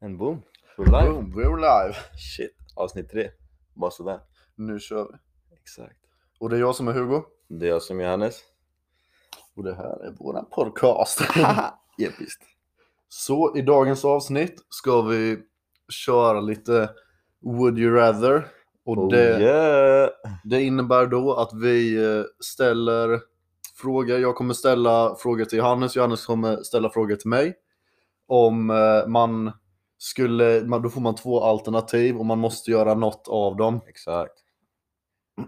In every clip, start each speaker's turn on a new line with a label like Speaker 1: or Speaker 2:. Speaker 1: En boom. We're live.
Speaker 2: Boom, we're live!
Speaker 1: Shit. Avsnitt tre. Bara sådär.
Speaker 2: Nu kör vi.
Speaker 1: Exakt.
Speaker 2: Och det är jag som är Hugo.
Speaker 1: Det är jag som är Johannes.
Speaker 2: Och det här är våran podcast.
Speaker 1: Episkt.
Speaker 2: Så i dagens avsnitt ska vi köra lite Would you rather. Och
Speaker 1: Oh
Speaker 2: det,
Speaker 1: yeah.
Speaker 2: det innebär då att vi eh, ställer frågor. Jag kommer ställa frågor till Johannes, Johannes kommer ställa frågor till mig. Om eh, man skulle, man- då får man två alternativ och man måste göra något av dem.
Speaker 1: Exakt.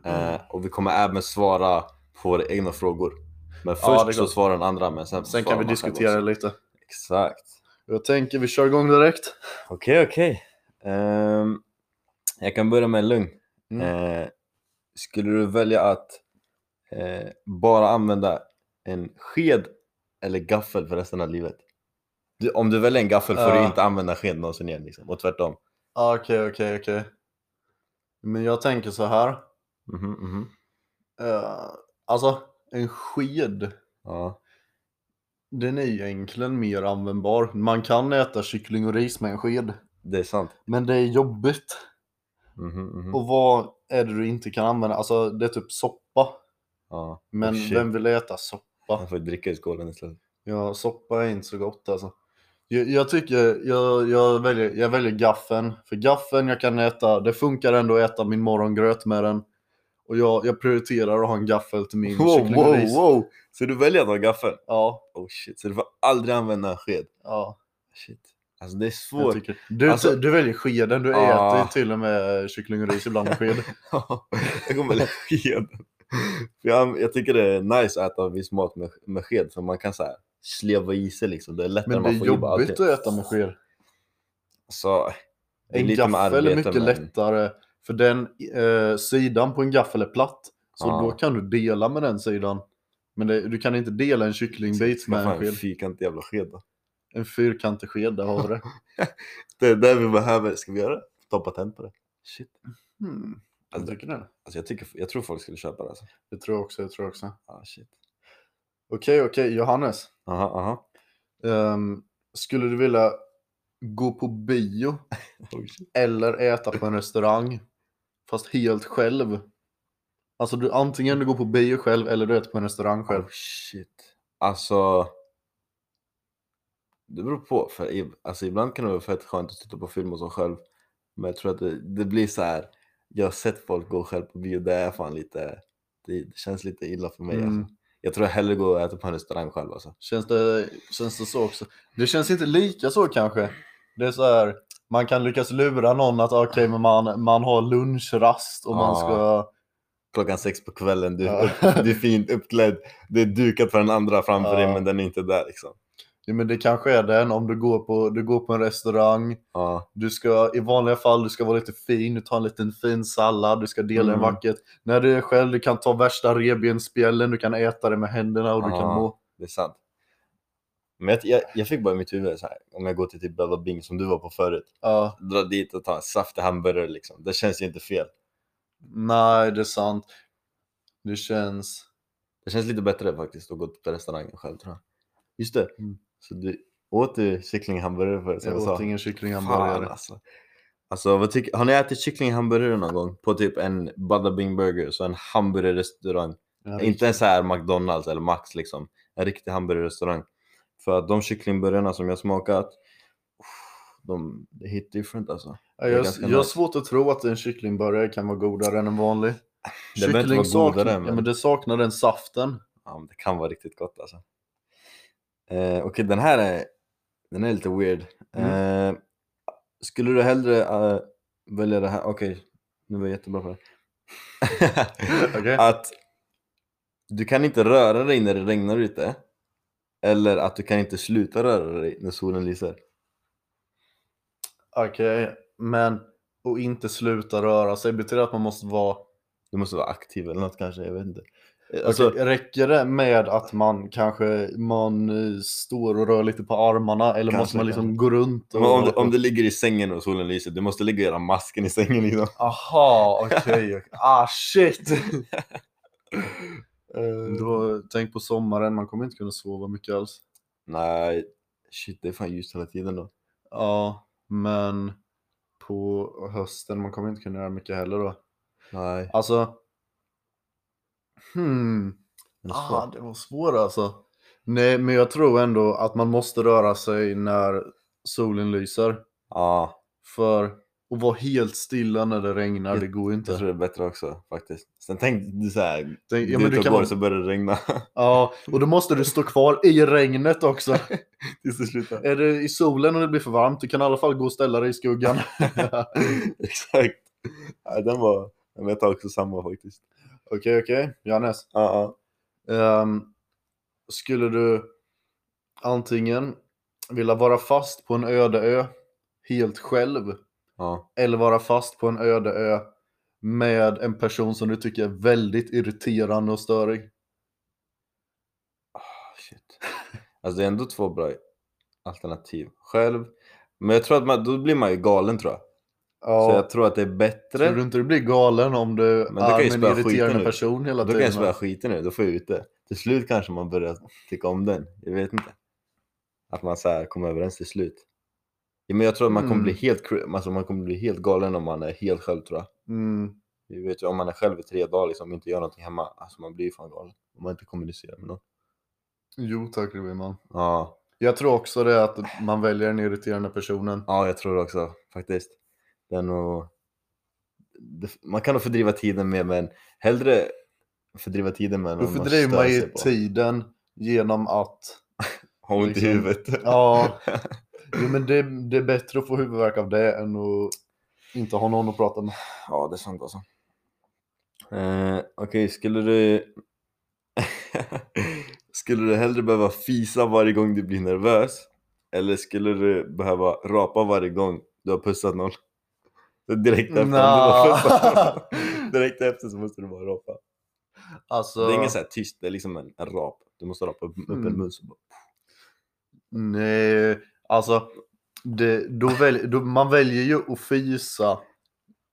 Speaker 1: Eh, och vi kommer även svara på våra egna frågor. Men först
Speaker 2: Ja, det är
Speaker 1: så
Speaker 2: klart.
Speaker 1: svarar den andra, men sen,
Speaker 2: Sen
Speaker 1: svarar
Speaker 2: kan vi
Speaker 1: man själv
Speaker 2: diskutera det
Speaker 1: också.
Speaker 2: lite.
Speaker 1: Exakt.
Speaker 2: Jag tänker vi kör igång direkt.
Speaker 1: Okej, okej. Ehm, jag kan börja med en lugn. Eh, skulle du välja att eh, bara använda en sked eller gaffel för resten av livet? Du, om du väljer en gaffel får du
Speaker 2: Ja.
Speaker 1: inte använda en sked någonsin igen. Liksom. Och tvärtom.
Speaker 2: Ah, Okej, okej, okej. Men jag tänker så här.
Speaker 1: Mhm, mhm.
Speaker 2: Eh, alltså, en sked,
Speaker 1: Ja.
Speaker 2: den är ju egentligen mer användbar. Man kan äta kyckling och ris med en sked,
Speaker 1: Det är sant.
Speaker 2: men det är jobbigt.
Speaker 1: Mhm, mhm.
Speaker 2: Och vad är det du inte kan använda? Alltså, det är typ soppa.
Speaker 1: Ja.
Speaker 2: Men
Speaker 1: shit.
Speaker 2: vem vill äta
Speaker 1: Man
Speaker 2: soppa?
Speaker 1: får dricka i skålen istället.
Speaker 2: Ja, soppa är inte så gott alltså. Jag, jag tycker, jag, jag, väljer, jag väljer gaffen. För gaffen jag kan äta, det funkar ändå att äta min morgongröt med den. Och jag, jag prioriterar att ha en gaffel till min kyckling och ris.
Speaker 1: wow! Så du väljer att ha gaffel?
Speaker 2: Ja,
Speaker 1: Oh shit, så du får aldrig använda en sked?
Speaker 2: ja.
Speaker 1: Shit. Alltså det är
Speaker 2: Jag
Speaker 1: svårt.
Speaker 2: tycker. Du,
Speaker 1: Alltså-
Speaker 2: du väljer skeden, du
Speaker 1: Ah.
Speaker 2: äter till och med kyckling och ris ibland med sked.
Speaker 1: Ja, jag kommer välja sked. För jag, jag tycker det är nice att äta viss mat med, med sked för man kan så här sleva i sig liksom. Det är lättare
Speaker 2: Men det
Speaker 1: man
Speaker 2: är
Speaker 1: får i bara
Speaker 2: jobbigt
Speaker 1: allting.
Speaker 2: att äta med sked.
Speaker 1: Så, det är
Speaker 2: En
Speaker 1: lite med
Speaker 2: gaffel är
Speaker 1: arbete,
Speaker 2: mycket
Speaker 1: men-
Speaker 2: lättare, för den eh, sidan på en gaffel är platt. Så
Speaker 1: Ah.
Speaker 2: då kan du dela med den sidan. Men det, du kan inte dela en kycklingbit med en
Speaker 1: Fan, en
Speaker 2: sked.
Speaker 1: fyrkantig jävla sked då.
Speaker 2: En fyrkantig sked, där har vi det.
Speaker 1: Det är det vi behöver. Ska vi göra det? Ta patent på det. Shit.
Speaker 2: Hmm. Jag
Speaker 1: Alltså,
Speaker 2: tycker det.
Speaker 1: Alltså, jag, tycker, jag tror folk skulle köpa det. Alltså.
Speaker 2: Det tror jag också, jag tror också.
Speaker 1: Ah, shit.
Speaker 2: Okej, okej, Johannes.
Speaker 1: Aha, aha.
Speaker 2: Ehm, skulle du vilja gå på bio
Speaker 1: Oh, shit.
Speaker 2: eller äta på en restaurang. Fast helt själv. Alltså du, antingen du går på bio själv eller du äter på en restaurang själv.
Speaker 1: Oh, shit. Alltså. Det beror på. För i- alltså, ibland kan det vara fett skönt att titta på film och så själv. Men jag tror att det, det blir så här. Jag har sett folk gå själv på bio. Det är fan lite. Det, det känns lite illa för mig.
Speaker 2: Mm.
Speaker 1: Alltså. Jag tror jag hellre går och äter på en restaurang själv. Alltså.
Speaker 2: Känns, det, känns det så också? Det känns inte lika så kanske. Det är så här, man kan lyckas lura någon att okej, men man, man har lunchrast och man
Speaker 1: Ja.
Speaker 2: ska...
Speaker 1: Klockan sex på kvällen. Du, är
Speaker 2: Ja.
Speaker 1: upp, du är fint uppklädd. Det är dukat för den andra framför dig
Speaker 2: Ja.
Speaker 1: men den är inte där liksom.
Speaker 2: Ja, men det kanske är den om du går på, du går på en restaurang.
Speaker 1: Ja,
Speaker 2: Du ska i vanliga fall du ska vara lite fin, du tar en liten fin sallad, du ska dela den
Speaker 1: Mm.
Speaker 2: vackert. När du är själv, du kan ta värsta revbensspjällen, du kan äta det med händerna och du
Speaker 1: Ja.
Speaker 2: kan må.
Speaker 1: det är sant. Men jag, jag, jag fick bara i mitt huvud så här. Om jag går till typ Bella Bing som du var på förut.
Speaker 2: Ja,
Speaker 1: dra dit och ta en saftig hamburgare liksom. Det känns ju inte fel.
Speaker 2: nej det är sant. Det känns...
Speaker 1: Det känns lite bättre faktiskt att gå till restaurangen själv tror jag. Just det.
Speaker 2: Mm.
Speaker 1: Så du åt du kycklinghamburgare förut som
Speaker 2: Jag
Speaker 1: jag
Speaker 2: åt
Speaker 1: sa?
Speaker 2: ingen
Speaker 1: Fan
Speaker 2: kycklinghamburgare.
Speaker 1: alltså. Alltså vad tycker, har ni ätit kycklinghamburgare någon gång? På typ en Bada Bing Burger, så en hamburgerrestaurang.
Speaker 2: Ja,
Speaker 1: Inte en så här McDonalds eller Max liksom. En riktig hamburgerrestaurang. För att de kycklingburgarna som jag smakat, uff, de det är hit different alltså.
Speaker 2: Ja,
Speaker 1: är
Speaker 2: Jag,
Speaker 1: ganska
Speaker 2: jag har
Speaker 1: nice.
Speaker 2: svårt att tro att en kycklingburgare kan vara godare än en vanlig.
Speaker 1: Det behöver inte vara
Speaker 2: saknar,
Speaker 1: godare,
Speaker 2: ja,
Speaker 1: men-
Speaker 2: men det saknar den saften.
Speaker 1: Ja, men det kan vara riktigt gott alltså. Eh, Okej, den här är, den är lite weird.
Speaker 2: Mm.
Speaker 1: Eh, skulle du hellre eh, välja det här? Okej, nu var jag jättebra på det.
Speaker 2: Okej.
Speaker 1: Att du kan inte röra dig när det regnar ute. Eller att du kan inte sluta röra dig när solen lyser.
Speaker 2: Okej, men och inte sluta röra sig betyder att man måste vara...
Speaker 1: Du måste vara aktiv eller något kanske, jag vet inte. Eh,
Speaker 2: Alltså,
Speaker 1: Alltså,
Speaker 2: räcker det med att man kanske man eh, står och rör lite på armarna eller måste
Speaker 1: Kanske,
Speaker 2: man liksom gå runt?
Speaker 1: men
Speaker 2: Och...
Speaker 1: om, du, om du ligger i sängen och solen lyser, du måste ligga och göra masken i sängen liksom.
Speaker 2: Aha, okej. okej. Ah, shit!
Speaker 1: Eh,
Speaker 2: Då, tänk på sommaren, man kommer inte kunna sova mycket alls.
Speaker 1: Nej, shit det är fan ljust hela tiden då.
Speaker 2: Ja, Men på hösten, man kommer inte kunna göra mycket heller då.
Speaker 1: Nej.
Speaker 2: Alltså... Hmm.
Speaker 1: den är
Speaker 2: Ah,
Speaker 1: svår.
Speaker 2: det var svårt alltså. Nej, men jag tror ändå att man måste röra sig när solen lyser.
Speaker 1: Ja,
Speaker 2: För att vara helt stilla när det regnar, det går ju
Speaker 1: jag tror
Speaker 2: inte.
Speaker 1: det är bättre också faktiskt. Sen tänk du så här,
Speaker 2: Tänk, ja,
Speaker 1: du
Speaker 2: men
Speaker 1: tar
Speaker 2: du
Speaker 1: på dig
Speaker 2: kan vara,
Speaker 1: så börjar det regna
Speaker 2: ja, och då måste du stå kvar i regnet också.
Speaker 1: tills det slutar.
Speaker 2: Är det i solen och det blir för varmt, du kan i alla fall gå och ställa dig i skuggan.
Speaker 1: Exakt. Ja, den var, men jag tar också samma faktiskt.
Speaker 2: Okej, okej. Johannes.
Speaker 1: Ja, ja.
Speaker 2: Ehm, skulle du antingen vilja vara fast på en öde ö helt själv
Speaker 1: ja.
Speaker 2: eller vara fast på en öde ö med en person som du tycker är väldigt irriterande och störig?
Speaker 1: Ah, shit. Alltså det är ändå två bra alternativ. Själv. Men jag tror att man, då blir man ju galen tror jag.
Speaker 2: Ja,
Speaker 1: Så jag tror att det är bättre.
Speaker 2: tror du inte du blir galen om du
Speaker 1: Men då kan jag
Speaker 2: är
Speaker 1: ju
Speaker 2: med en
Speaker 1: spöa skiten
Speaker 2: irriterande
Speaker 1: ur.
Speaker 2: person hela
Speaker 1: Då kan
Speaker 2: tiden?
Speaker 1: jag spöa skiten nu, då får jag ut det. Till slut kanske man börjar tycka om den, jag vet inte. Att man så här kommer överens till slut. Ja, men jag tror att man kommer, bli
Speaker 2: Mm.
Speaker 1: helt, cra- alltså man kommer bli helt galen om man är helt själv tror jag.
Speaker 2: mm.
Speaker 1: Vi vet ju om man är själv i tre dagar liksom, och inte gör någonting hemma, alltså man blir ju fan galen. Om man inte kommunicerar med någon.
Speaker 2: Jo tack, det blir man.
Speaker 1: Ja,
Speaker 2: Jag tror också det att man väljer den irriterande personen.
Speaker 1: ja jag tror det också faktiskt. Det är nog... det, man kan nog fördriva tiden med, men hellre fördriva tiden med
Speaker 2: Då
Speaker 1: någon man
Speaker 2: fördriver
Speaker 1: stör
Speaker 2: man ju
Speaker 1: sig på.
Speaker 2: tiden genom att
Speaker 1: Ha ont i
Speaker 2: liksom.
Speaker 1: huvudet.
Speaker 2: Ja, jo, men det, det är bättre att få huvudvärk av det än att inte ha någon att prata med.
Speaker 1: Ja, det är sant alltså. Eh, Okej, skulle du... skulle du hellre behöva fisa varje gång du blir nervös? Eller skulle du behöva rapa varje gång du har pussat någon? Så direkt efter, om du har
Speaker 2: Nja.
Speaker 1: pussat någon, direkt efter så måste du bara rapa.
Speaker 2: Alltså,
Speaker 1: Det är ingen så här tyst, det är liksom en, en rap. Du måste rapa upp, upp en
Speaker 2: Mm.
Speaker 1: mun. Så bara...
Speaker 2: nej, alltså det, då väl, då, man väljer ju att fisa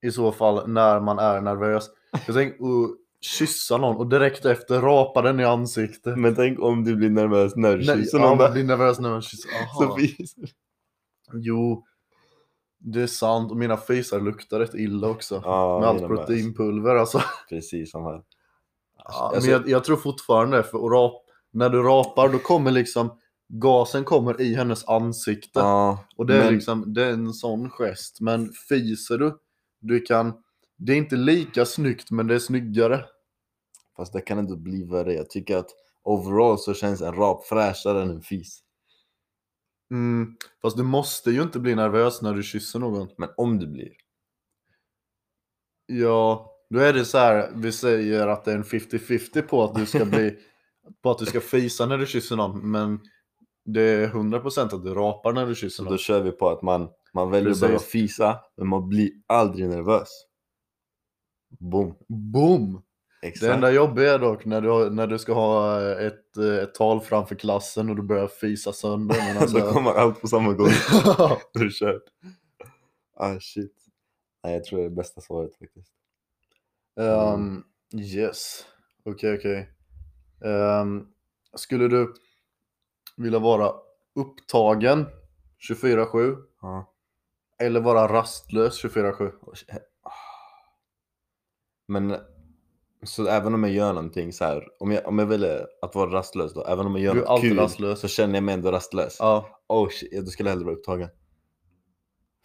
Speaker 2: i så fall när man är nervös. Jag tänker att kyssa någon och direkt efter rapa den i ansiktet.
Speaker 1: Men tänk om du blir nervös när du
Speaker 2: Nej,
Speaker 1: kysser
Speaker 2: ja,
Speaker 1: Mm. någon.
Speaker 2: man
Speaker 1: där.
Speaker 2: blir nervös när man kysser. Aha.
Speaker 1: Så fis.
Speaker 2: Jo, det är sant och mina fisar luktar rätt illa också.
Speaker 1: Ja,
Speaker 2: med allt
Speaker 1: mina med.
Speaker 2: proteinpulver alltså.
Speaker 1: Precis som här.
Speaker 2: Ja,
Speaker 1: Alltså-
Speaker 2: men jag, jag tror fortfarande, för att rap, när du rapar då kommer liksom gasen kommer i hennes ansikte.
Speaker 1: Ja,
Speaker 2: och det är,
Speaker 1: men-
Speaker 2: liksom, det är en sån gest. Men fiser du, du kan... Det är inte lika snyggt, men det är snyggare.
Speaker 1: Fast det kan ändå bli värre. Jag tycker att overall så känns en rap fräschare än en fis.
Speaker 2: Mm, fast du måste ju inte bli nervös när du kysser någon.
Speaker 1: Men om du blir.
Speaker 2: Ja, då är det så här, vi säger att det är en 50-50 på att du ska bli... på att du ska fisa när du kysser någon, men det är 100% att du rapar när du kysser
Speaker 1: Så
Speaker 2: någon.
Speaker 1: då kör vi på att man, man väljer
Speaker 2: Precis.
Speaker 1: att behöva fisa, men man blir aldrig nervös. Boom.
Speaker 2: Boom!
Speaker 1: Exakt.
Speaker 2: Det enda jobbiga är dock när du, har- när du ska ha eh, ett, eh, ett tal framför klassen och du börjar fisa sönder. Men alltså...
Speaker 1: Då kommer allt på samma gång. Då är det kört. Ah shit. Nej, jag tror det är bästa svaret faktiskt. Mm.
Speaker 2: Ehm, yes, okej okej. Ehm, skulle du vilja vara upptagen 24-7
Speaker 1: Ja.
Speaker 2: eller vara rastlös 24-7?
Speaker 1: Och sh- ah. Men så även om jag gör någonting så här, om jag, om jag väljer att vara rastlös då, även om jag gör
Speaker 2: Du är
Speaker 1: något
Speaker 2: alltid
Speaker 1: kul
Speaker 2: rastlös.
Speaker 1: så känner jag mig ändå rastlös.
Speaker 2: Ja,
Speaker 1: oh shit, ja, då skulle jag hellre vara upptagen.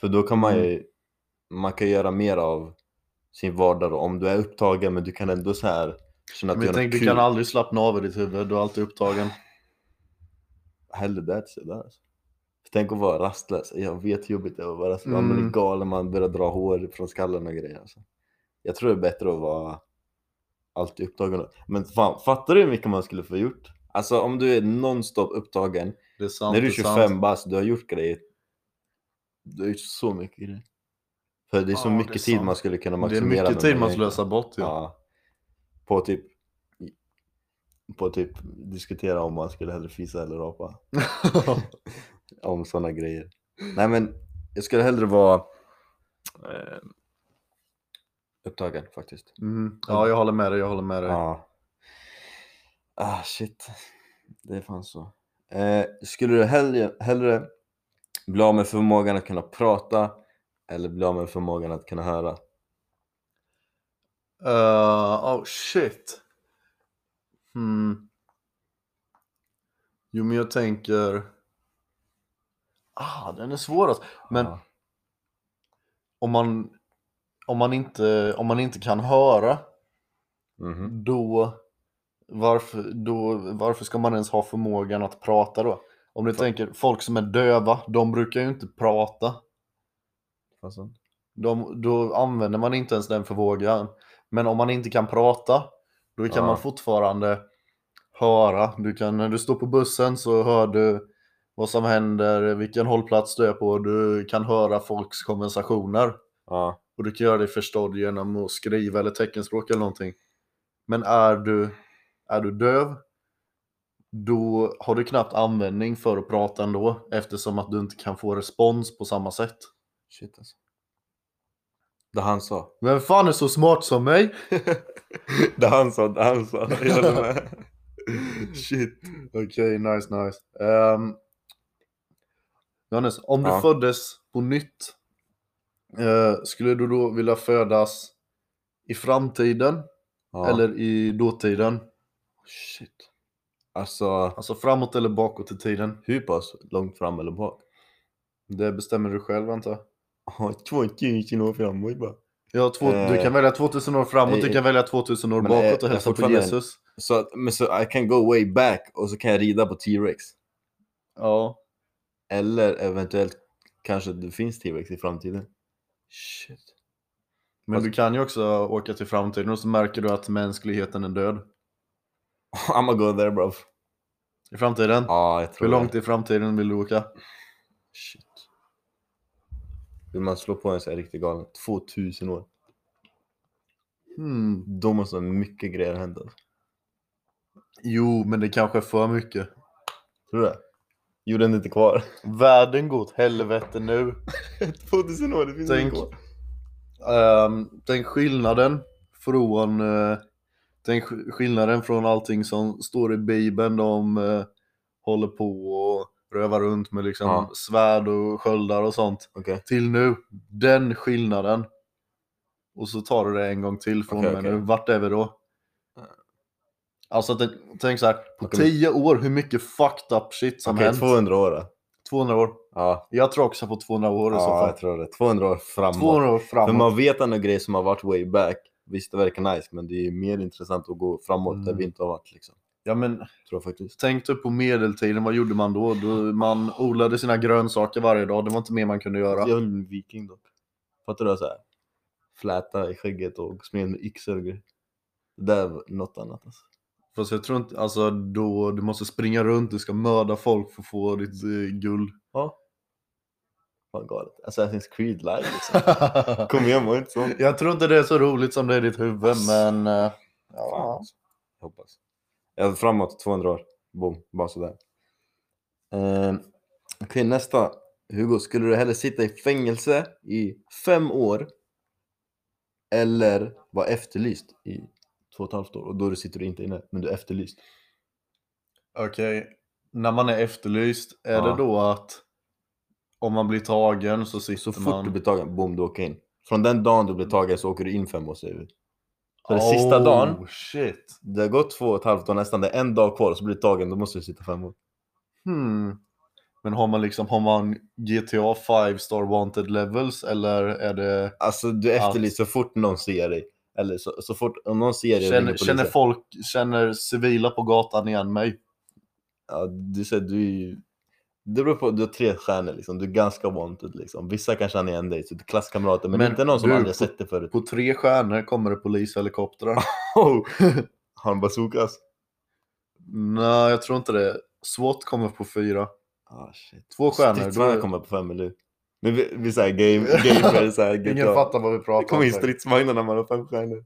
Speaker 1: För då kan man
Speaker 2: Mm.
Speaker 1: ju, man kan göra mer av sin vardag då. Om du är upptagen men du kan ändå så här känna att
Speaker 2: men
Speaker 1: du gör
Speaker 2: tänk
Speaker 1: något
Speaker 2: du
Speaker 1: kul.
Speaker 2: kan aldrig slappna av i ditt huvud, du är alltid upptagen.
Speaker 1: Hellre det till sig där. Alltså. För Tänk att vara rastlös. Jag vet hur jobbigt det är att vara rastlös. Man blir
Speaker 2: Mm.
Speaker 1: galen, man börjar dra hår från skallen och grejer. Alltså. Jag tror det är bättre att vara alltid upptagen. då. Men fan, fattar du hur mycket man skulle få gjort? Alltså om du är nonstop upptagen.
Speaker 2: Det är sant,
Speaker 1: När du
Speaker 2: det
Speaker 1: är
Speaker 2: är sant.
Speaker 1: 25 bast, du har gjort grejer. Du har gjort så mycket grejer. För det är så
Speaker 2: Ja, det
Speaker 1: mycket
Speaker 2: är
Speaker 1: tid
Speaker 2: sant.
Speaker 1: man skulle kunna
Speaker 2: Det är
Speaker 1: maximera.
Speaker 2: mycket
Speaker 1: med
Speaker 2: tid
Speaker 1: mig
Speaker 2: man
Speaker 1: egentligen.
Speaker 2: slösar bort ju.
Speaker 1: Ja. På typ... På typ diskutera om man skulle hellre fisa eller rapa. om sådana grejer. Nej men, jag skulle hellre vara... Eh, upptagen faktiskt.
Speaker 2: Mm. Ja, jag håller med dig, jag håller med dig.
Speaker 1: Ja. Ah shit. Det är fan så. Eh, skulle du hellre, hellre Bli av med förmågan att kunna prata eller bli av med förmågan att kunna höra.
Speaker 2: Eh, oh shit. Hmm. Jo men jag tänker... Ah, den är svår alltså. Men
Speaker 1: Ja.
Speaker 2: om, man, om, man inte, om man inte kan höra,
Speaker 1: Mhm.
Speaker 2: då varför, då varför ska man ens ha förmågan att prata då? Om du tänker, folk som är döva, de brukar ju inte prata.
Speaker 1: Vad sa du?
Speaker 2: De, då använder man inte ens den förmågan. Men om man inte kan prata, då kan
Speaker 1: Ja.
Speaker 2: man fortfarande höra. Du kan, när du står på bussen så hör du vad som händer, vilken hållplats du är på. Du kan höra folks konversationer.
Speaker 1: Ja.
Speaker 2: Och du kan göra dig förstådd genom att skriva eller teckenspråk eller någonting. Men är du, är du döv, då har du knappt användning för att prata ändå. Eftersom att du inte kan få respons på samma sätt.
Speaker 1: Shit alltså. Det han sa.
Speaker 2: Vem fan är så smart som mig?
Speaker 1: det han sa, det han sa. Jag håller med. Shit.
Speaker 2: Okej, nice, nice. Ehm, Johannes, om
Speaker 1: Ja.
Speaker 2: du föddes på nytt, eh, skulle du då vilja födas i framtiden
Speaker 1: Ja.
Speaker 2: eller i dåtiden?
Speaker 1: Shit. Alltså,
Speaker 2: Alltså framåt eller bakåt i tiden?
Speaker 1: hur pass långt fram eller bak?
Speaker 2: Det bestämmer du själv antar jag.
Speaker 1: Ja, 2000 år framåt bara.
Speaker 2: Ja, två, du
Speaker 1: Eh,
Speaker 2: kan välja 2000 år framåt, du
Speaker 1: eh,
Speaker 2: kan välja 2000 år
Speaker 1: men, eh,
Speaker 2: bakåt och hälsa
Speaker 1: alltså,
Speaker 2: på
Speaker 1: fortfarande-
Speaker 2: Jesus.
Speaker 1: Så, att- men så I can go way back och så kan jag rida på T-Rex.
Speaker 2: Ja.
Speaker 1: Eller eventuellt kanske det finns T-Rex i framtiden. Shit.
Speaker 2: Men du kan ju också åka till framtiden och så märker du att mänskligheten är död.
Speaker 1: I'mma go there bro.
Speaker 2: I framtiden?
Speaker 1: Ja, jag tror
Speaker 2: Hur långt
Speaker 1: det.
Speaker 2: i framtiden vill du åka?
Speaker 1: Shit. Vill man slå på en så är det riktigt galen. 2000 år.
Speaker 2: Hmm.
Speaker 1: Då måste mycket grejer ha hänt. alltså.
Speaker 2: Jo, men det kanske är för mycket.
Speaker 1: Tror du det? Jorden är inte kvar.
Speaker 2: Världen går åt helvete nu.
Speaker 1: 2000 år, det finns
Speaker 2: Tänk,
Speaker 1: inte kvar.
Speaker 2: ehm, tänk skillnaden från eh, Tänk sk- skillnaden från allting som står i Bibeln. De eh, håller på och rövar runt med liksom
Speaker 1: Ja.
Speaker 2: svärd och sköldar och sånt.
Speaker 1: Okej.
Speaker 2: Till nu. Den skillnaden. Och så tar du det en gång till från
Speaker 1: Okej,
Speaker 2: och med
Speaker 1: okej.
Speaker 2: nu. Vart är vi då? Alltså tänk, tänk så här. På
Speaker 1: Okej, men-
Speaker 2: 10 år, hur mycket fucked up shit som
Speaker 1: Okej,
Speaker 2: hänt.
Speaker 1: 200 år då.
Speaker 2: 200 år.
Speaker 1: Ja,
Speaker 2: Jag tror också på 200 år i så
Speaker 1: ja
Speaker 2: fall.
Speaker 1: jag tror det. 200 år framåt.
Speaker 2: 200 år
Speaker 1: För
Speaker 2: framåt.
Speaker 1: man vet ändå grejer som har varit way back. Visst, det verkar nice, men det är ju mer intressant att gå framåt där
Speaker 2: Mm.
Speaker 1: vi inte har varit. Liksom.
Speaker 2: Ja, men,
Speaker 1: Tror jag faktiskt.
Speaker 2: tänk dig på medeltiden, vad gjorde man då? då? Man odlade sina grönsaker varje dag, det var inte mer man kunde göra.
Speaker 1: Jag vill bli viking dock. Fattar du? Så här, fläta i skägget och springa med yxor och grejer. Det där var något annat alltså.
Speaker 2: Fast jag tror inte, alltså då, du måste springa runt, du ska mörda folk för att få ditt eh, guld.
Speaker 1: Fan galet. Assassin's Creed live liksom. Kom igen, var inte sån.
Speaker 2: jag tror inte det är så roligt som det är i ditt huvud,
Speaker 1: Ass.
Speaker 2: men... eh,
Speaker 1: Fan,
Speaker 2: Ja.
Speaker 1: alltså. Jag hoppas. Ja, framåt 200 år. Boom, bara sådär. Eh, Okej, nästa. Hugo, skulle du hellre sitta i fängelse i fem år eller vara efterlyst i två och ett halvt år? Och då sitter du inte inne, men du är efterlyst.
Speaker 2: Okej, när man är efterlyst, är
Speaker 1: Ja.
Speaker 2: det då att om man blir tagen så sitter
Speaker 1: Så fort
Speaker 2: man... Mm.
Speaker 1: du blir tagen, boom, du åker in. Från den dagen du blir tagen så åker du in fem år, säger vi. Så det
Speaker 2: oh,
Speaker 1: sista dagen,
Speaker 2: shit.
Speaker 1: det har gått två och ett halvt år nästan, det är en dag kvar, så blir du tagen, då måste du sitta fem år.
Speaker 2: Hmm. Men har man liksom, har man GTA 5 Star Wanted Levels eller är det...
Speaker 1: Alltså du är efterlyst så fort någon ser dig. Eller så, så fort om någon ser dig ringer
Speaker 2: Känner,
Speaker 1: polisen.
Speaker 2: känner folk, känner civila på gatan igen mig?
Speaker 1: ja, du, säger, du är ju... Det beror på, du har tre stjärnor liksom. Du är ganska wanted liksom. Vissa kanske känner igen dig, så du är klasskamrater. Men,
Speaker 2: Men
Speaker 1: inte någon som
Speaker 2: du,
Speaker 1: aldrig har
Speaker 2: på-
Speaker 1: sett dig förut.
Speaker 2: På tre stjärnor kommer det polishelikoptrar.
Speaker 1: Oh! Har de bazookas?
Speaker 2: Nej, jag tror inte det. SWAT kommer på fyra.
Speaker 1: Ah, shit.
Speaker 2: Två stjärnor.
Speaker 1: Stridsvagnar
Speaker 2: Då...
Speaker 1: kommer på fem eller hur? Men vi, vi säger game, game är så här,
Speaker 2: Ingen
Speaker 1: GTA.
Speaker 2: fattar vad vi
Speaker 1: Det
Speaker 2: pratar
Speaker 1: kommer in
Speaker 2: säkert.
Speaker 1: stridsvagnar när man har fem stjärnor.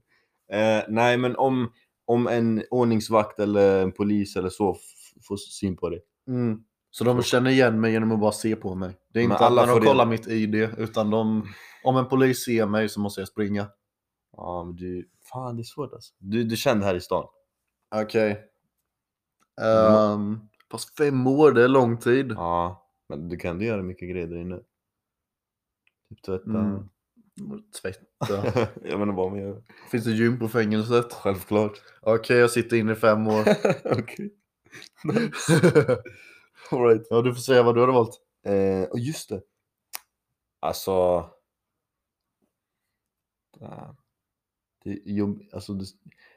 Speaker 1: Eh, nej, men om, om en ordningsvakt eller en polis eller så f- får syn på dig.
Speaker 2: Mm. Så de känner igen mig genom att bara se på mig. Det är
Speaker 1: Men
Speaker 2: inte
Speaker 1: alla
Speaker 2: att när
Speaker 1: får
Speaker 2: de
Speaker 1: reda-
Speaker 2: kollar mitt ID, utan de... Om en polis ser mig så måste jag springa.
Speaker 1: Ja, men du... Fan, det är svårt alltså. Du, du kände här i stan.
Speaker 2: Okej.
Speaker 1: må-
Speaker 2: Ehm, fast fem år, det är lång tid.
Speaker 1: Mm. Ja. Men du kan ju göra mycket grejer där inne. Typ tvätta.
Speaker 2: Mm. Tvätta.
Speaker 1: jag menar vad man gör.
Speaker 2: Finns det gym på fängelset?
Speaker 1: Självklart.
Speaker 2: Okej, jag sitter inne i fem år.
Speaker 1: Okej. Alright.
Speaker 2: ja, du får säga vad du hade valt.
Speaker 1: Eh, och just det. Alltså. fan. Det är jobb... alltså det...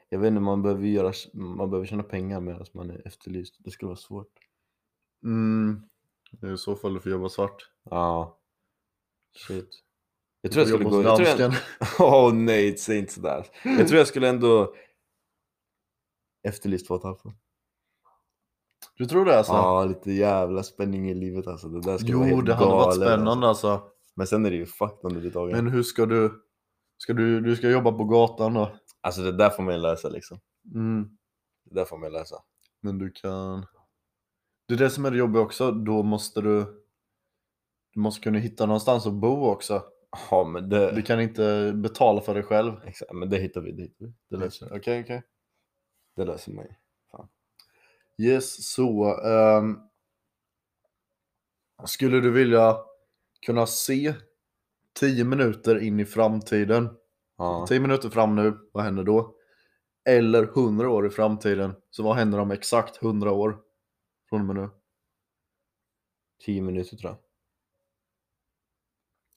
Speaker 1: Jag vet inte, man behöver, göra... man behöver tjäna pengar medan man är efterlyst. Det skulle vara svårt.
Speaker 2: Mm. Det är I så fall du får jobba svart.
Speaker 1: Ja. Shit. Jag tror jag
Speaker 2: Du
Speaker 1: skulle
Speaker 2: får jobba
Speaker 1: gå...
Speaker 2: hos
Speaker 1: Jag tror jag...
Speaker 2: dansken.
Speaker 1: Åh nej, säg inte sådär. Jag tror jag skulle ändå... Efterlyst två och ett halvt år.
Speaker 2: Du tror det alltså?
Speaker 1: Ja, lite jävla spänning i livet alltså. Det där skulle vara
Speaker 2: jo,
Speaker 1: helt
Speaker 2: det hade varit
Speaker 1: galet, Alltså.
Speaker 2: spännande alltså.
Speaker 1: Men sen är det ju fucked under det dagen.
Speaker 2: Men hur ska du? Ska du, du ska jobba på gatan då?
Speaker 1: Alltså det där får man ju läsa liksom.
Speaker 2: Mm.
Speaker 1: Det där får man ju läsa.
Speaker 2: Men du kan... Det är det som är det jobbiga också. Då måste du... Du måste kunna hitta någonstans att bo också.
Speaker 1: Ja, men det...
Speaker 2: Du kan inte betala för dig själv.
Speaker 1: Exakt, men det hittar vi. Det, hittar vi. det löser
Speaker 2: Okej,
Speaker 1: vi.
Speaker 2: okej.
Speaker 1: Det löser man ju.
Speaker 2: Yes, så. ehm, skulle du vilja kunna se 10 minuter in i framtiden?
Speaker 1: Ja.
Speaker 2: 10 minuter fram nu, vad händer då? Eller 100 år i framtiden, så vad händer om exakt 100 år? Från och med nu.
Speaker 1: Tio minuter tror jag.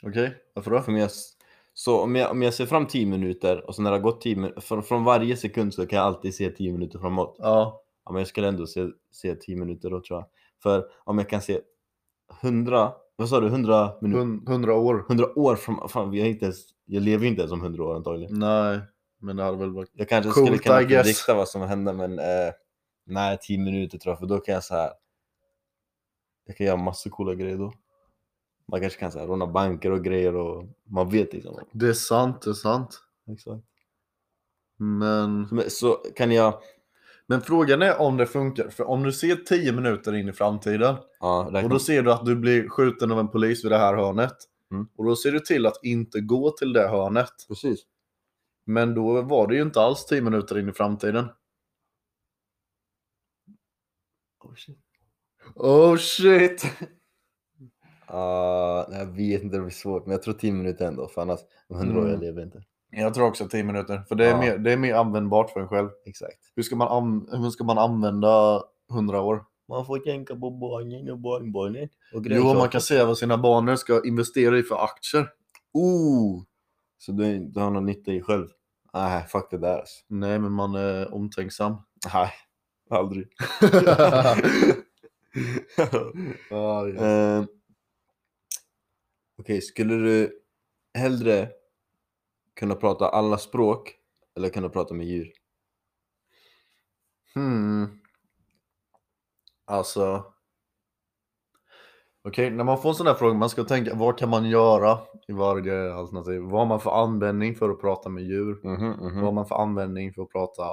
Speaker 2: Okej, varför då?
Speaker 1: För om jag... s- Så om jag, om jag ser fram tio minuter och sen när det har gått tio minuter, från, från varje sekund så kan jag alltid se tio minuter framåt.
Speaker 2: Ja,
Speaker 1: Ja, men jag skulle ändå se, se 10 minuter då tror jag. För om jag kan se 100, vad sa du, 100 minuter?
Speaker 2: hun- 100 år.
Speaker 1: 100 år fram, fan, jag, är inte ens, jag lever ju inte ens om 100 år antagligen.
Speaker 2: Nej, men det hade väl varit...
Speaker 1: Jag kanske
Speaker 2: Coolt,
Speaker 1: skulle kunna
Speaker 2: I guess.
Speaker 1: predikta vad som händer men eh, nej 10 minuter tror jag för då kan jag så här. Jag kan göra massor coola grejer då. Man kanske kan så här, råna banker och grejer och man vet liksom.
Speaker 2: Det är sant, det är sant.
Speaker 1: Exakt.
Speaker 2: Men...
Speaker 1: Men, så kan jag
Speaker 2: men frågan är om det funkar. För om du ser 10 minuter in i framtiden
Speaker 1: ja, räkna.
Speaker 2: och då ser du att du blir skjuten av en polis vid det här hörnet.
Speaker 1: Mm.
Speaker 2: Och då ser du till att inte gå till det hörnet.
Speaker 1: Precis.
Speaker 2: Men då var det ju inte alls 10 minuter in i framtiden.
Speaker 1: Oh, shit.
Speaker 2: Oh shit!
Speaker 1: Ah, nej, jag vet inte, det blir svårt. Men jag tror 10 minuter ändå, för annars, om 100 år, jag
Speaker 2: Mm.
Speaker 1: lever inte.
Speaker 2: Jag tror också 10 minuter, för det är,
Speaker 1: Ja.
Speaker 2: mer, det är mer användbart för en själv.
Speaker 1: Exakt.
Speaker 2: Hur ska man, an- hur ska man använda 100 år?
Speaker 1: Man får tänka på barnen och barnbarnen. Och
Speaker 2: Jo, man kan säga vad sina barn ska investera i för aktier.
Speaker 1: Oh! Så du, du har någon nytta i själv? Nej, fuck det där alltså.
Speaker 2: Nej, men man är omtänksam.
Speaker 1: Nej, aldrig.
Speaker 2: Ja, ja.
Speaker 1: Eh, Okej, skulle du hellre kunna prata alla språk eller kunna prata med djur?
Speaker 2: Hmm. Alltså. Okej, när man får en sån här fråga, man ska tänka vad kan man göra i varje alternativ? Vad har man för användning för att prata med djur?
Speaker 1: Mhm, mhm.
Speaker 2: Vad har man för användning för att prata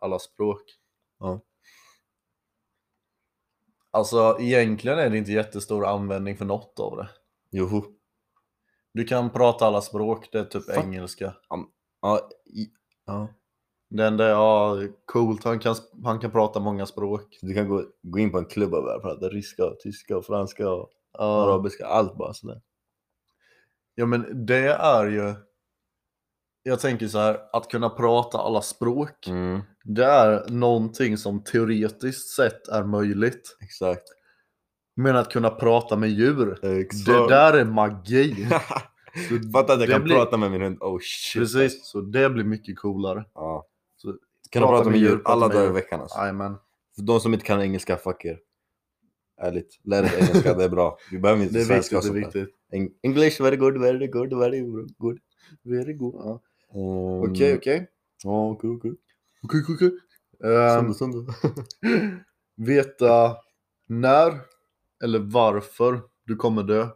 Speaker 2: alla språk?
Speaker 1: Ja.
Speaker 2: Alltså egentligen är det inte jättestor användning för något av det.
Speaker 1: Joho.
Speaker 2: Du kan prata alla språk, det är typ
Speaker 1: Fuck.
Speaker 2: engelska.
Speaker 1: Ja, i, ja.
Speaker 2: Det enda är ja, coolt, han kan, han kan prata många språk.
Speaker 1: Så du kan gå, gå in på en klubb och börja prata ryska, och tyska, och franska och
Speaker 2: Ja,
Speaker 1: arabiska. Allt bara sådär.
Speaker 2: ja men det är ju... Jag tänker så här, att kunna prata alla språk,
Speaker 1: Mm,
Speaker 2: det är någonting som teoretiskt sett är möjligt.
Speaker 1: exakt.
Speaker 2: Men att kunna prata med djur,
Speaker 1: exakt.
Speaker 2: det där är magi. Så
Speaker 1: Fatta att jag
Speaker 2: det
Speaker 1: kan
Speaker 2: blir-
Speaker 1: prata med min hund. Oh shit.
Speaker 2: Precis, så det blir mycket coolare.
Speaker 1: Ja.
Speaker 2: Så
Speaker 1: kan du prata med djur
Speaker 2: prata
Speaker 1: alla
Speaker 2: med
Speaker 1: dagar i
Speaker 2: djur.
Speaker 1: veckan alltså.
Speaker 2: Jajamän.
Speaker 1: För de som inte kan engelska, fuck er. Ärligt, lär dig engelska, det är bra. Vi behöver inte
Speaker 2: Det är
Speaker 1: svenska
Speaker 2: viktigt,
Speaker 1: och
Speaker 2: det är
Speaker 1: sånt där.
Speaker 2: viktigt.
Speaker 1: Eng- English very good, very good, very good.
Speaker 2: Very good. Ja.
Speaker 1: Um,
Speaker 2: Okej, okej.
Speaker 1: Ja, okej, okej.
Speaker 2: Okej, okej, okej.
Speaker 1: Sönder,
Speaker 2: Ehm,
Speaker 1: sönder.
Speaker 2: Veta när eller varför du kommer dö.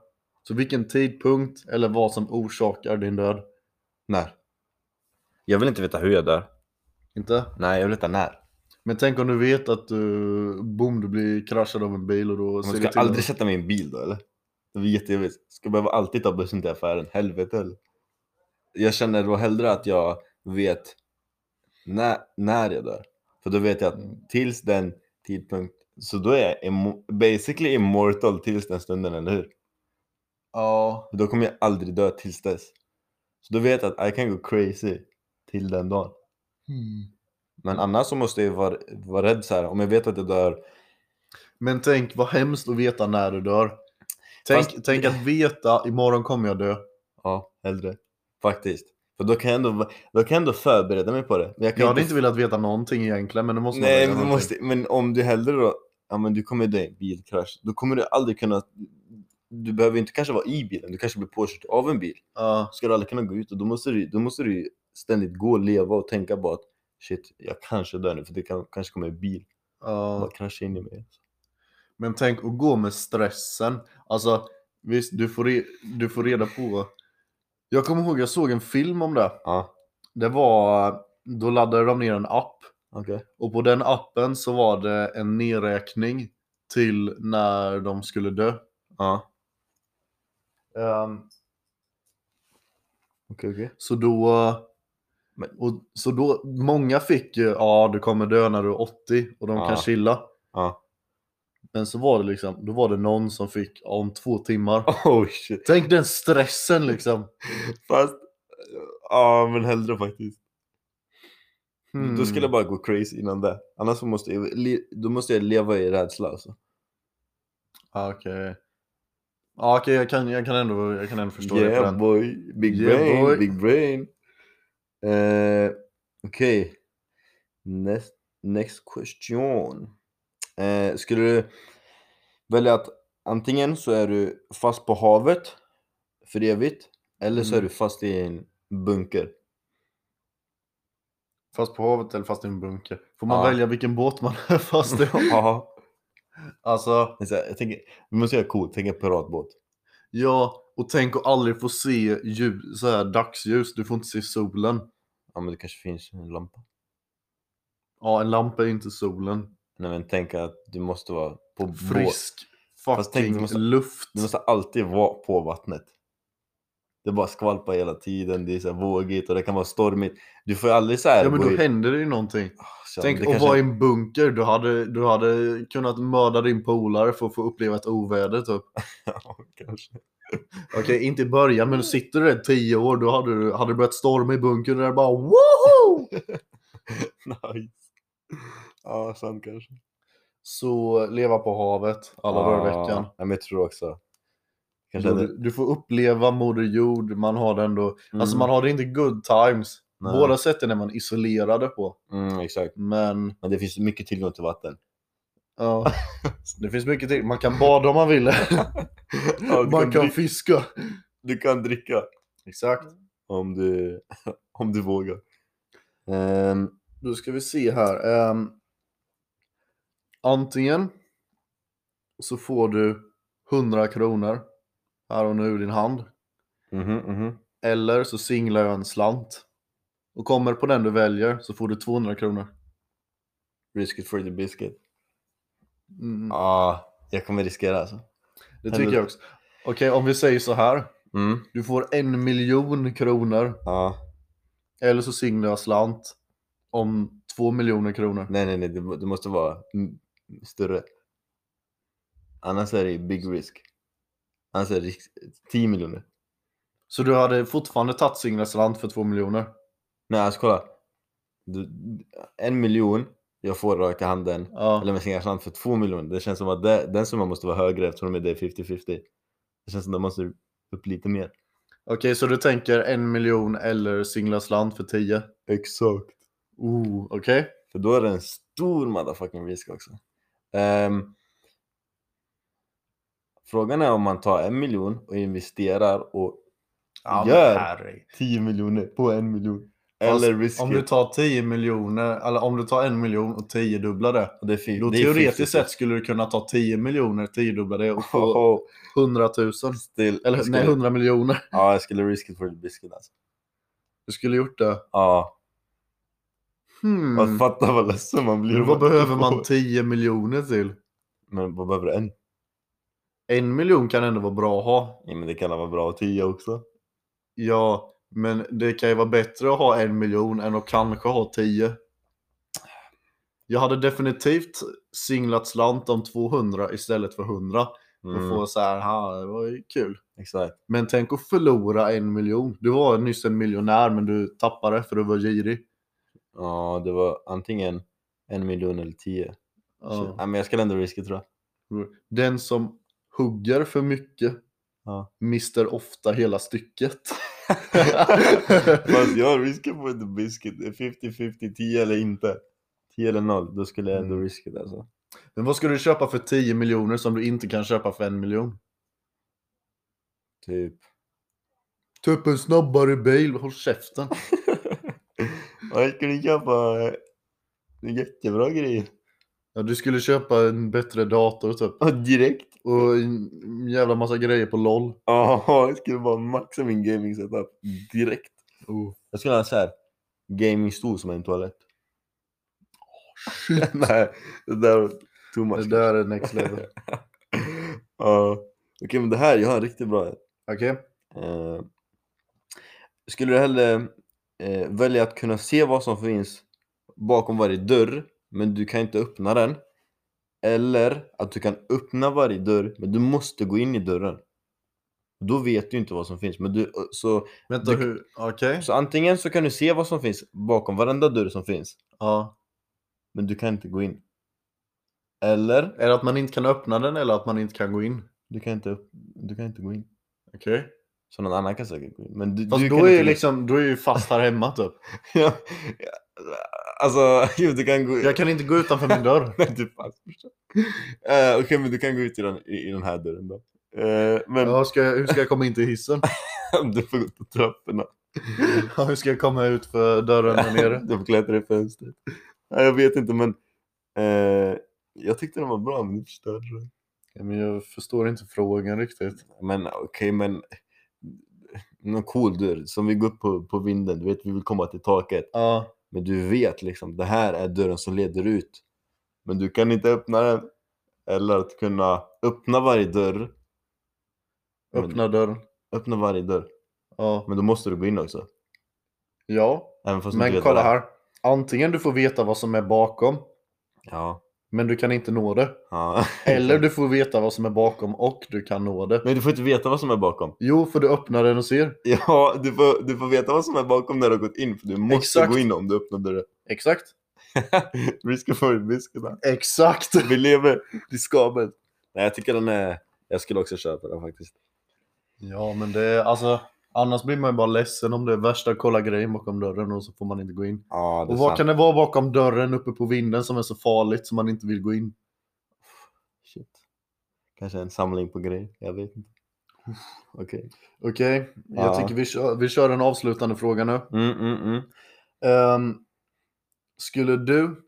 Speaker 2: Så vilken tidpunkt eller vad som orsakar din död.
Speaker 1: När? Jag vill inte veta hur jag dör.
Speaker 2: Inte?
Speaker 1: Nej, jag vill veta när.
Speaker 2: Men tänk om du vet att du, boom, du blir kraschad av en bil och då
Speaker 1: Man
Speaker 2: ser
Speaker 1: ska
Speaker 2: det till
Speaker 1: aldrig
Speaker 2: att-
Speaker 1: sätta mig i en bil då eller? Det blir jättejobbigt. Ska behöva alltid ta bussen till affären. Helvete eller? Jag känner då hellre att jag vet när, när jag dör. För då vet jag att
Speaker 2: Mm.
Speaker 1: tills den tidpunkt, Så då är jag immo- basically immortal tills den stunden, eller hur?
Speaker 2: Ja.
Speaker 1: Då kommer jag aldrig dö tills dess. Så då vet jag att I can go crazy till den dagen. Men annars så måste jag vara, vara rädd så här. om jag vet att jag dör.
Speaker 2: Men tänk vad hemskt att veta när du dör. Tänk,
Speaker 1: Fast-
Speaker 2: tänk att veta imorgon kommer jag dö.
Speaker 1: Ja, hellre. Faktiskt. För då kan jag ändå, då kan jag ändå förbereda mig på det. Men jag kan
Speaker 2: Jag hade inte velat veta någonting egentligen men nu måste man
Speaker 1: Nej,
Speaker 2: veta
Speaker 1: men, du
Speaker 2: någonting.
Speaker 1: måste, men om du hellre då, ja men du kommer dö i en bilkrasch, då kommer du aldrig kunna, du behöver inte kanske vara i bilen, du kanske blir påkörd av en bil.
Speaker 2: Ja.
Speaker 1: Ska du aldrig kunna gå ut och då måste du, då måste du ju ständigt gå och leva och tänka på att shit, jag kanske dör nu för det kan, kanske kommer en bil och
Speaker 2: ja.
Speaker 1: bara kraschar in i mig.
Speaker 2: Men tänk att gå med stressen. Alltså visst, du får, re- du får reda på. Jag kommer ihåg jag såg en film om det.
Speaker 1: Ja,
Speaker 2: Det var, då laddade de ner en app.
Speaker 1: okej.
Speaker 2: Och på den appen så var det en nedräkning till när de skulle dö.
Speaker 1: Ja,
Speaker 2: Ehm,
Speaker 1: okej okej.
Speaker 2: Så då...
Speaker 1: Men-
Speaker 2: Och, så då, många fick ju ja du kommer dö när du är 80 och de
Speaker 1: Ja.
Speaker 2: kan chilla.
Speaker 1: Ja.
Speaker 2: Men så var det liksom, då var det någon som fick ja, om två timmar.
Speaker 1: Oh shit.
Speaker 2: Tänk den stressen liksom.
Speaker 1: Fast, ja men hellre faktiskt. Då
Speaker 2: Hmm.
Speaker 1: skulle jag bara gå crazy innan det. Annars så måste jag, le- då måste jag leva i rädsla alltså.
Speaker 2: Ja, Ah, Okej. Ja okej jag, kan, jag, kan ändå, jag kan ändå förstå det på
Speaker 1: yeah
Speaker 2: den.
Speaker 1: boy, big
Speaker 2: Yeah,
Speaker 1: brain,
Speaker 2: boy.
Speaker 1: big brain. Eh, Okej, next, next question. Eh, skulle du välja att antingen så är du fast på havet för evigt eller så är
Speaker 2: Mm.
Speaker 1: du fast i en bunker?
Speaker 2: Fast på havet eller fast i en bunker. Får man
Speaker 1: Ja.
Speaker 2: välja vilken båt man är fast i?
Speaker 1: Ja,
Speaker 2: alltså,
Speaker 1: men så här, jag tänker, vi måste göra coolt, tänk en piratbåt.
Speaker 2: ja. Och tänk att aldrig få se ljus, så här, dagsljus. Du får inte se solen.
Speaker 1: Ja men det kanske finns en lampa.
Speaker 2: Ja, en lampa är inte solen.
Speaker 1: Nej men tänk att du måste vara på båt.
Speaker 2: Frisk
Speaker 1: Fast tänk, du
Speaker 2: fucking
Speaker 1: måste-
Speaker 2: luft.
Speaker 1: Du måste alltid vara på vattnet. Det bara skvalpar hela tiden, det är så här vågigt och det kan vara stormigt. Du får ju aldrig så här
Speaker 2: Ja, men
Speaker 1: gå
Speaker 2: då
Speaker 1: ut.
Speaker 2: händer det ju någonting.
Speaker 1: Ah, så
Speaker 2: tänk
Speaker 1: det
Speaker 2: att
Speaker 1: kanske-
Speaker 2: vara i en bunker. Du hade, du hade kunnat mörda din polare för att få uppleva ett oväder typ.
Speaker 1: Ja, kanske.
Speaker 2: Okej, inte i början, men sitter du där i tio år, då hade, du, hade det börjat storma i bunkern och där bara woho!
Speaker 1: nice. Ja, sant kanske.
Speaker 2: Så leva på havet alla dagar i veckan.
Speaker 1: Ja, men jag tror också. Ah, Kanske
Speaker 2: Du,
Speaker 1: hade-
Speaker 2: du- du får uppleva moder jord, man har det ändå.
Speaker 1: mm,
Speaker 2: Alltså man har det inte good times.
Speaker 1: Nej.
Speaker 2: Båda sätten är man isolerade på.
Speaker 1: mm, exakt.
Speaker 2: Men
Speaker 1: Men det finns mycket tillgång till vatten.
Speaker 2: ja, det finns mycket till. Man kan bada om man vill.
Speaker 1: Ja, du,
Speaker 2: Man
Speaker 1: kan
Speaker 2: kan
Speaker 1: dri-
Speaker 2: fiska.
Speaker 1: du kan dricka
Speaker 2: Exakt.
Speaker 1: om du, om du vågar. Ehm,
Speaker 2: Då ska vi se här. ehm, antingen så får du 100 kronor här och nu i din hand.
Speaker 1: mhm, mhm.
Speaker 2: Eller så singlar jag en slant. Och kommer på den du väljer så får du 200 kronor.
Speaker 1: Risk it for the biscuit.
Speaker 2: Mm,
Speaker 1: Ja, jag kommer riskera alltså.
Speaker 2: det tycker jag också. Okej, om vi säger så här.
Speaker 1: Mm.
Speaker 2: Du får en miljon kronor.
Speaker 1: Ja.
Speaker 2: Eller så singlar jag slant om två miljoner kronor.
Speaker 1: Nej, nej, nej, det, må- det måste vara mm, större. Annars är det big risk. Annars är det risk, 10 miljoner.
Speaker 2: Så du hade fortfarande tagit singlar slant för två miljoner.
Speaker 1: Nej, alltså kolla. Du, en miljon jag får rakt i handen,
Speaker 2: Ja.
Speaker 1: eller med singelslant för två miljoner. Det känns som att det, den summan måste vara högre eftersom det är 50-50. Det känns som att den måste upp lite mer.
Speaker 2: Okej, så du tänker en miljon eller singla slant för 10?
Speaker 1: Exakt.
Speaker 2: Ooh, okej.
Speaker 1: För då är det en stor motherfucking risk också. Ehm, frågan är om man tar en miljon och investerar och Ja, men Gör. 10 miljoner på en miljon.
Speaker 2: Fast
Speaker 1: Eller risk
Speaker 2: Om du tar 10 miljoner, eller om du tar en miljon och 10 dubblar det.
Speaker 1: det är fint. liksom.
Speaker 2: Då teoretiskt sett skulle du kunna ta 10 miljoner, 10 dubblar det och få 100 000.
Speaker 1: Still,
Speaker 2: Eller
Speaker 1: jag skulle,
Speaker 2: nej, 100 miljoner.
Speaker 1: Ja, jag skulle risk it for the biscuit alltså.
Speaker 2: Du skulle gjort det.
Speaker 1: Ja,
Speaker 2: Hmm.
Speaker 1: man fattar vad ledsen man blir. om
Speaker 2: Vad
Speaker 1: man inte
Speaker 2: behöver
Speaker 1: får.
Speaker 2: man 10 miljoner till?
Speaker 1: Men vad behöver du en?
Speaker 2: En miljon kan ändå vara bra att ha.
Speaker 1: Ja, men det kan vara bra att tio också.
Speaker 2: Ja, men det kan ju vara bättre att ha en miljon än att kanske ha 10. Jag hade definitivt singlat slant om 200 istället för 100. För att
Speaker 1: Mm,
Speaker 2: få så här, ha, det var ju kul.
Speaker 1: exakt.
Speaker 2: Men tänk att förlora en miljon. Du var nyss en miljonär men du tappade för du var girig.
Speaker 1: Ja, det var antingen en miljon eller tio. Så,
Speaker 2: Ja.
Speaker 1: ja, men jag ska ändå riska tror jag.
Speaker 2: Den som hugger för mycket
Speaker 1: Ja.
Speaker 2: mister ofta hela stycket.
Speaker 1: Fast jag riskar på inte biscuit. 50-50, 10 eller inte. 10 eller 0, då skulle jag ändå
Speaker 2: Mm.
Speaker 1: riska det alltså.
Speaker 2: men vad ska du köpa för 10 miljoner som du inte kan köpa för en miljon?
Speaker 1: Typ.
Speaker 2: Typ en snabbare bil, håll käften.
Speaker 1: Och jag skulle köpa eh, jättebra grejer.
Speaker 2: Ja, du skulle köpa en bättre dator typ.
Speaker 1: Och direkt.
Speaker 2: Och en jävla massa grejer på LOL.
Speaker 1: Ja, jag skulle bara maxa min gaming setup direkt. Oh. Jag skulle ha så här gamingstol som en toalett.
Speaker 2: Shit.
Speaker 1: Nej, det där var too
Speaker 2: Det
Speaker 1: much.
Speaker 2: där är next level.
Speaker 1: Ja. Okej, men det här, jag har en riktigt bra.
Speaker 2: Okej?
Speaker 1: Eh, skulle du hellre eh, välja att kunna se vad som finns bakom varje dörr, men du kan inte öppna den? Eller att du kan öppna varje dörr, men du måste gå in i dörren. Då vet du inte vad som finns. Men du, eh, så,
Speaker 2: Vänta,
Speaker 1: Du-
Speaker 2: hur? Okej?
Speaker 1: så antingen så kan du se vad som finns bakom varenda dörr som finns,
Speaker 2: Ja.
Speaker 1: men du kan inte gå in. Eller,
Speaker 2: Är det att man inte kan öppna den eller att man inte kan gå in?
Speaker 1: du kan inte, upp- du kan inte gå in.
Speaker 2: Okej.
Speaker 1: Så någon annan kan säkert gå in. Men du,
Speaker 2: Fast
Speaker 1: du
Speaker 2: då
Speaker 1: kan
Speaker 2: är,
Speaker 1: inte
Speaker 2: ju liksom, då är jag ju fast här hemma typ.
Speaker 1: Ja, ja, alltså, jo, du kan gå ut.
Speaker 2: Jag kan inte gå utanför min dörr.
Speaker 1: Nej, du fan, brorsan. Eh, Okej, men du kan gå ut i den, i, i den här dörren då. Eh, men
Speaker 2: Ja, ska jag, hur ska jag komma in till hissen?
Speaker 1: du får gå ut på trapporna.
Speaker 2: Ja, hur ska jag komma ut för dörren där nere?
Speaker 1: Du får klättra i fönstret. Nej, jag vet inte, men eh, jag tyckte den var bra, men du förstörde den.
Speaker 2: Ja, men jag förstår inte frågan riktigt.
Speaker 1: Men okej, men någon cool dörr. Som vi går upp på, på vinden, du vet, vi vill komma till taket.
Speaker 2: Ja.
Speaker 1: Men du vet liksom, det här är dörren som leder ut. Men du kan inte öppna den. Eller att kunna öppna varje dörr. Men-
Speaker 2: Öppna dörren.
Speaker 1: öppna varje dörr.
Speaker 2: Ja.
Speaker 1: Men då måste du gå in också.
Speaker 2: Ja,
Speaker 1: Även fast du inte
Speaker 2: men
Speaker 1: vet vad
Speaker 2: kolla
Speaker 1: det är.
Speaker 2: här. Antingen du får veta vad som är bakom,
Speaker 1: Ja.
Speaker 2: men du kan inte nå det.
Speaker 1: ja.
Speaker 2: Eller du får veta vad som är bakom och du kan nå det.
Speaker 1: Men du får inte veta vad som är bakom.
Speaker 2: Jo, för du öppnar den och ser.
Speaker 1: Ja, du får, du får veta vad som är bakom när du har gått in. För du måste
Speaker 2: Exakt.
Speaker 1: gå in om du öppnar dörren.
Speaker 2: Exakt.
Speaker 1: Risken för biscuitarna.
Speaker 2: Exakt.
Speaker 1: Vi lever riskabelt. Nej, jag tycker den är... Jag skulle också köpa den faktiskt.
Speaker 2: Ja, men det är alltså. Annars blir man ju bara ledsen om det är värsta kolla grejen bakom dörren och så får man inte gå in.
Speaker 1: Ja, det är
Speaker 2: Och vad
Speaker 1: sant.
Speaker 2: kan det vara bakom dörren uppe på vinden som är så farligt som man inte vill gå in?
Speaker 1: Shit. Kanske en samling på grejer. Jag vet inte. Okej.
Speaker 2: Okej, jag
Speaker 1: Ja.
Speaker 2: tycker vi kör, vi kör en avslutande fråga nu.
Speaker 1: Mm, mm, mm.
Speaker 2: Ehm, skulle du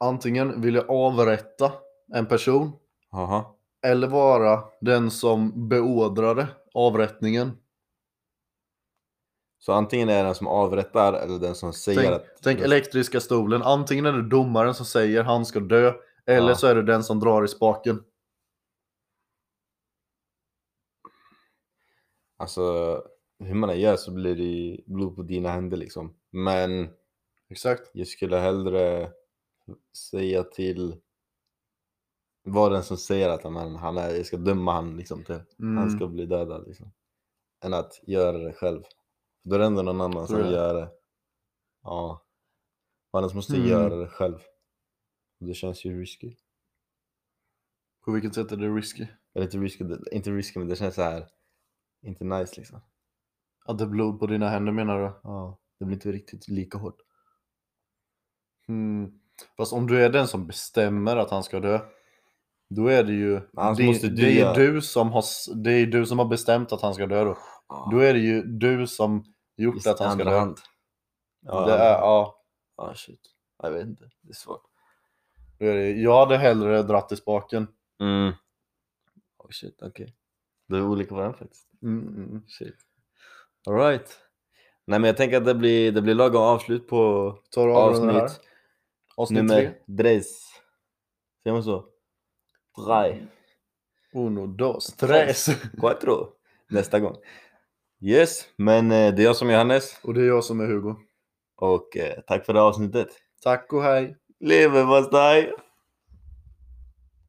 Speaker 2: antingen vilja avrätta en person
Speaker 1: Jaha.
Speaker 2: eller vara den som beordrade avrättningen?
Speaker 1: Så antingen är det den som avrättar eller den som säger
Speaker 2: Tänk,
Speaker 1: att...
Speaker 2: tänk elektriska stolen. Antingen är det domaren som säger han ska dö eller
Speaker 1: Ja.
Speaker 2: så är det den som drar i spaken.
Speaker 1: Alltså, hur man än gör så blir det ju blod på dina händer liksom. Men
Speaker 2: Exakt.
Speaker 1: jag skulle hellre säga till var den som säger att "Men han är, jag ska döma han liksom till
Speaker 2: Mm.
Speaker 1: han ska bli dödad liksom. Än att göra det själv. Då är det ändå någon annan som
Speaker 2: Tror jag.
Speaker 1: gör det. Ja. Och Annars måste
Speaker 2: Mm.
Speaker 1: jag göra det själv. Det känns ju risky.
Speaker 2: På vilket sätt är det risky?
Speaker 1: Eller inte risky, det- inte risky men det känns så här inte nice liksom.
Speaker 2: Att det är blod på dina händer menar du?
Speaker 1: Ja. Det blir inte riktigt lika hårt.
Speaker 2: Hmm. Fast om du är den som bestämmer att han ska dö, då är det ju
Speaker 1: annars
Speaker 2: det,
Speaker 1: måste du
Speaker 2: det är
Speaker 1: göra-
Speaker 2: ju du som har, s- det är du som har bestämt att han ska dö då. Då är det ju du som
Speaker 1: I
Speaker 2: gjort att han ska
Speaker 1: andra
Speaker 2: dö.
Speaker 1: hand. Ja,
Speaker 2: det är, ja,
Speaker 1: ja, shit. Jag vet inte, det är svårt.
Speaker 2: då är det, jag hade hellre dratt i spaken.
Speaker 1: Mm. Oh, shit, okej. Det är olika varandra faktiskt.
Speaker 2: Mm,
Speaker 1: Shit. All right. Nej men jag tänker att det blir, det blir lagom avslut på
Speaker 2: Tar du av den här?
Speaker 1: avsnitt
Speaker 2: Avsnitt tre.
Speaker 1: nummer Dreis. Säger man så? Drei.
Speaker 2: Uno, dos, tres.
Speaker 1: Quattro. Nästa gång. Yes, men eh, det är jag som är Johannes
Speaker 2: Och det är jag som är Hugo.
Speaker 1: och eh, tack för det här avsnittet.
Speaker 2: Tack och hej!
Speaker 1: Leverpastej!